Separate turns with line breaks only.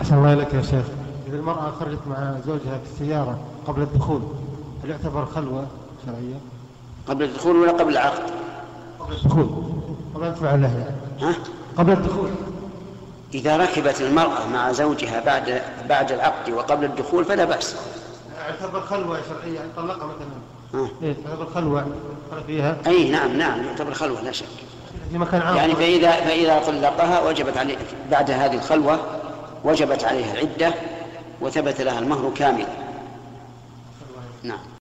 أحسن الله إليك يا شيخ إذا المرأة خرجت مع زوجها في السيارة قبل الدخول هل يعتبر خلوة شرعية؟
قبل الدخول ولا قبل العقد
قبل الدخول قبل أن تفعل لها يعني.
ها؟
قبل الدخول
إذا ركبت المرأة مع زوجها بعد بعد العقد وقبل الدخول فلا بأس
يعتبر خلوة شرعية يعني طلقها مثلا
ها.
إيه تعتبر خلوة خلت فيها
أي نعم نعم يعتبر خلوة لا شك
في مكان عام
يعني فإذا فإذا طلقها وجبت عليه بعد هذه الخلوة وجبت عليها العدة وثبت لها المهر كامل نعم